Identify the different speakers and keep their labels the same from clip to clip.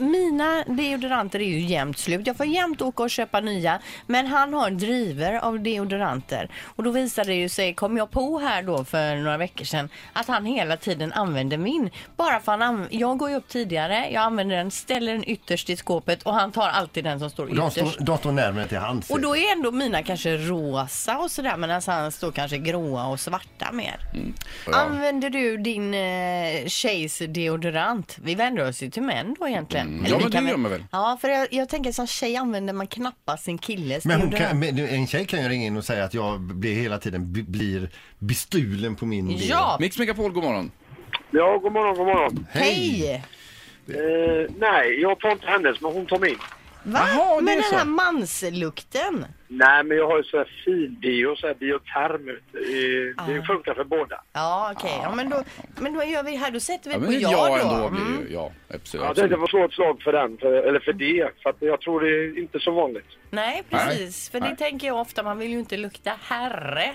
Speaker 1: mina deodoranter är ju jämnt slut. Jag får jämt åka och köpa nya. Men han har driver av deodoranter. Och då visade det ju sig, kom jag på här då för några veckor sedan, att han hela tiden använder min. Bara för han anv- jag går ju upp tidigare, jag använder den, ställer den ytterst i skåpet och han tar alltid den som står
Speaker 2: De
Speaker 1: ytterst.
Speaker 2: står, de står närmare till hands.
Speaker 1: Och då är ändå mina kanske rosa och sådär medan han står kanske gråa och svarta mer.
Speaker 3: Mm.
Speaker 1: Använder du din eh, tjejs deodorant? Vi vänder oss ju till män då egentligen.
Speaker 3: Mm. ja, men
Speaker 1: vi kan
Speaker 3: det gör man väl?
Speaker 1: Ja, för jag, jag tänker som tjej använder man knappast sin killes
Speaker 2: Men, hon
Speaker 1: deodorant.
Speaker 2: kan, men en tjej kan ju ringa in och säga att jag blir hela tiden b- blir bestulen på min bil.
Speaker 1: Ja,
Speaker 3: Mix Megapol, god morgon.
Speaker 4: Ja, god morgon, god morgon.
Speaker 1: hej!
Speaker 4: Eh, nej, jag tar inte hennes, men hon tar min.
Speaker 1: Va?
Speaker 3: Jaha, det
Speaker 1: men
Speaker 3: är
Speaker 1: den
Speaker 3: så.
Speaker 1: här manslukten.
Speaker 4: Nej, men jag har ju så här fin-bio, så här bioterm ute. Eh, Det funkar för båda.
Speaker 1: Ja, okej. Ja, men, då, men då gör vi här, då sätter vi
Speaker 3: Ja, men
Speaker 1: på
Speaker 3: ett
Speaker 1: ja,
Speaker 3: ja
Speaker 1: då.
Speaker 3: ändå
Speaker 1: Mm.
Speaker 3: blir ju, ja, absolut.
Speaker 4: Jag tänkte få slå ett slag för den, för, eller för det, för att jag tror det är inte så vanligt.
Speaker 1: Nej, precis. För det
Speaker 3: Nej.
Speaker 1: tänker jag ofta, man vill ju inte lukta herre.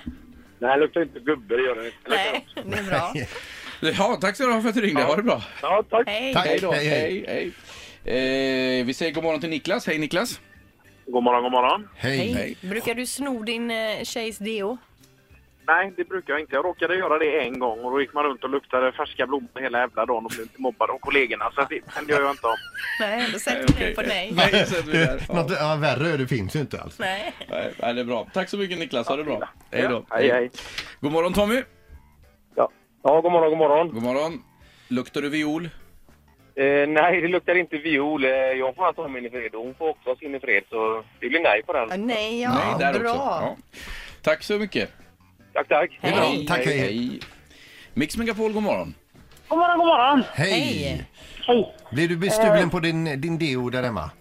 Speaker 4: Nej, det luktar inte gubbe, det gör det inte.
Speaker 1: Nej, det är bra.
Speaker 3: Ja, tack så mycket för att du ringde, ha det bra.
Speaker 4: Ja, tack.
Speaker 1: Hej.
Speaker 2: Tack.
Speaker 3: Hej då,
Speaker 2: Hej,
Speaker 3: hej,
Speaker 2: hej.
Speaker 3: hej. Eh, vi säger god morgon till Niklas, hej Niklas.
Speaker 4: God morgon, god morgon.
Speaker 2: Hej.
Speaker 1: Hej. Brukar du sno din eh, tjejs deo?
Speaker 4: Nej, det brukar jag inte. Jag råkade göra det en gång och då gick man runt och luktade färska blommor hela jävla dagen och blev inte mobbad av kollegorna. Så att det det gör jag inte om.
Speaker 1: Nej, då sätter du
Speaker 3: Okej.
Speaker 1: på nej.
Speaker 3: Nej, så är vi där.
Speaker 2: Något,
Speaker 3: Ja,
Speaker 2: ja, värre det finns ju inte alls.
Speaker 1: Nej.
Speaker 3: nej, nej, det är bra. Tack så mycket Niklas, ha det bra. Hej då.
Speaker 4: Ja, hej, hej.
Speaker 3: God morgon Tommy.
Speaker 4: Ja. ja, god morgon, god morgon.
Speaker 3: God morgon. Luktar du viol?
Speaker 4: Eh, nej, det luktar inte viol. Eh, Jag får ta min i fred och hon får också ha sin i fred. Så det blir nej på
Speaker 1: Ja,
Speaker 4: den.
Speaker 1: Nej, ja.
Speaker 3: nej, där
Speaker 1: bra.
Speaker 3: också. Ja. Tack så mycket.
Speaker 4: Tack, tack.
Speaker 1: Hej.
Speaker 2: Bra, Tack, hej. hej.
Speaker 3: Hej. Mix Megapol, god morgon.
Speaker 5: God morgon, god morgon.
Speaker 2: Hej.
Speaker 1: Hej.
Speaker 5: Hej.
Speaker 2: Blir du bestulen på din, din deo där hemma?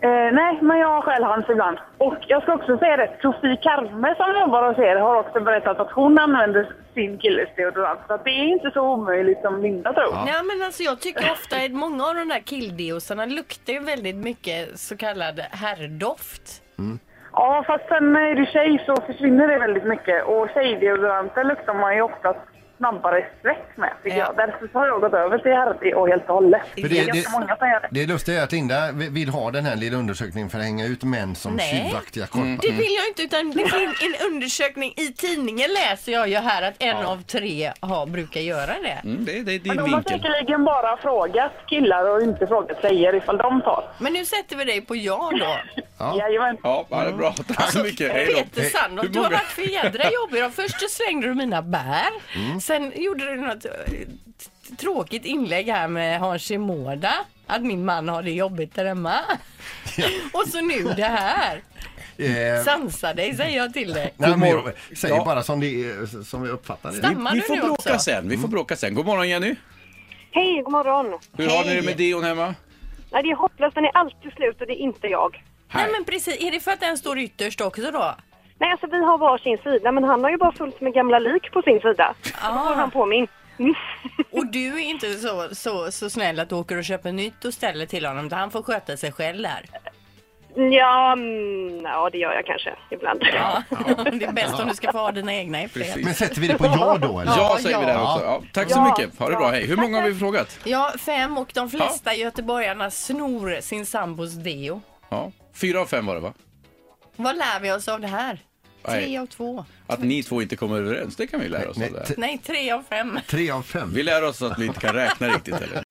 Speaker 5: Eh, nej, men jag själv har hans ibland. Och jag ska också säga det, Sofie Karme som jobbar hos er har också berättat att hon använder sin killes deodorant. Så att det är inte så omöjligt som Linda tror.
Speaker 1: Nej men alltså jag tycker ofta att många av de där killdeosarna luktar ju väldigt mycket så kallad herrdoft.
Speaker 5: Ja, fast sen när du är tjej så försvinner det väldigt mycket. Och tjejdeodoranter luktar man ju oftast snabbare svett med, tycker
Speaker 1: Ja.
Speaker 5: jag. Därför så har jag gått över till herrdi och helt och hållet.
Speaker 2: För
Speaker 5: Det
Speaker 2: det-
Speaker 5: är ganska många som gör det.
Speaker 2: Det är lustigt att Linda vi- vill ha den här lilla undersökningen för att hänga ut män som
Speaker 1: Nej.
Speaker 2: tjuvaktiga korpar.
Speaker 3: Mm.
Speaker 1: Det vill jag inte utan det finns en undersökning i tidningen läser jag ju här att en av tre har, brukar göra det.
Speaker 3: Mm, det, det är
Speaker 5: Men
Speaker 3: din
Speaker 5: de har
Speaker 3: vinkel.
Speaker 5: säkerligen bara frågat killar och inte frågat tjejer ifall de tar.
Speaker 1: Men nu sätter vi dig på ja då.
Speaker 2: Ja.
Speaker 5: Jajamän.
Speaker 3: Ja, ja, det är bra. Tack så mycket. Hej då.
Speaker 1: Peter Sandholt,
Speaker 3: Hur
Speaker 1: du har
Speaker 3: många-
Speaker 1: varit för jädra jobbig. då. Först så slängde du mina bär. Sen gjorde du något eh, t- tråkigt inlägg här med Hans Shimoda. Att min man har det jobbigt där hemma. Och så nu det här.
Speaker 2: Eh,
Speaker 1: Sansa dig säger jag till dig.
Speaker 2: nej, men
Speaker 3: God
Speaker 2: jag säger
Speaker 3: Ja.
Speaker 2: bara som, det, är- som jag uppfattar det.
Speaker 1: Stammar
Speaker 3: Vi
Speaker 1: du nu
Speaker 3: får bråka
Speaker 1: också?
Speaker 3: sen.
Speaker 2: Mm.
Speaker 3: Vi får bråka sen. God morgon Jenny.
Speaker 6: Hej, god morgon.
Speaker 3: Hur har ni det med deon hemma?
Speaker 6: Nej, det är hopplöst. Den är alltid slut och det är inte jag.
Speaker 1: Nej men precis, är det för att den står ytterst också då?
Speaker 6: Nej, alltså vi har var sin sida, men han har ju bara fullt med gamla lik på sin sida. Då har han på min. Mm.
Speaker 1: Ah. Och du är inte så, så, så snäll att du åker och köper nytt och ställer till honom. utan Han får sköta sig själv där.
Speaker 6: ja, mm, ja, det gör jag kanske ibland.
Speaker 1: Ja. Det är bäst om du ska få ha dina egna i fred.
Speaker 2: Men sätter vi det på ja då eller?
Speaker 3: Ja, säger vi där
Speaker 2: ja.
Speaker 3: också. Ja, tack så
Speaker 6: Ja,
Speaker 3: mycket. Ha det bra. Hej. Hur många har vi frågat?
Speaker 1: Ja, fem och de flesta göteborgarna snor sin sambos deo.
Speaker 3: Ja, fyra av fem var det va?
Speaker 1: Vad lär vi oss av det här?
Speaker 3: Nej.
Speaker 1: Tre av två.
Speaker 3: Att ni två inte kommer överens, det kan vi lära oss
Speaker 2: Nej,
Speaker 3: av det här.
Speaker 2: t-
Speaker 1: Nej, tre av fem.
Speaker 2: tre av fem.
Speaker 3: Vi lär oss att vi inte kan räkna riktigt heller.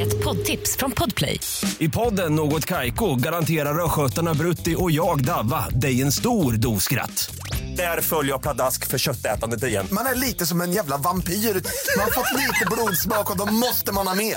Speaker 7: Ett poddtips från Podplay.
Speaker 8: I podden Något Kaiko garanterar östgötarna Brutti och jag, Davva, dig en stor dos skratt. Där följer jag pladask för köttätandet igen.
Speaker 9: Man är lite som en jävla vampyr. Man har fått lite blodsmak och då måste man ha mer.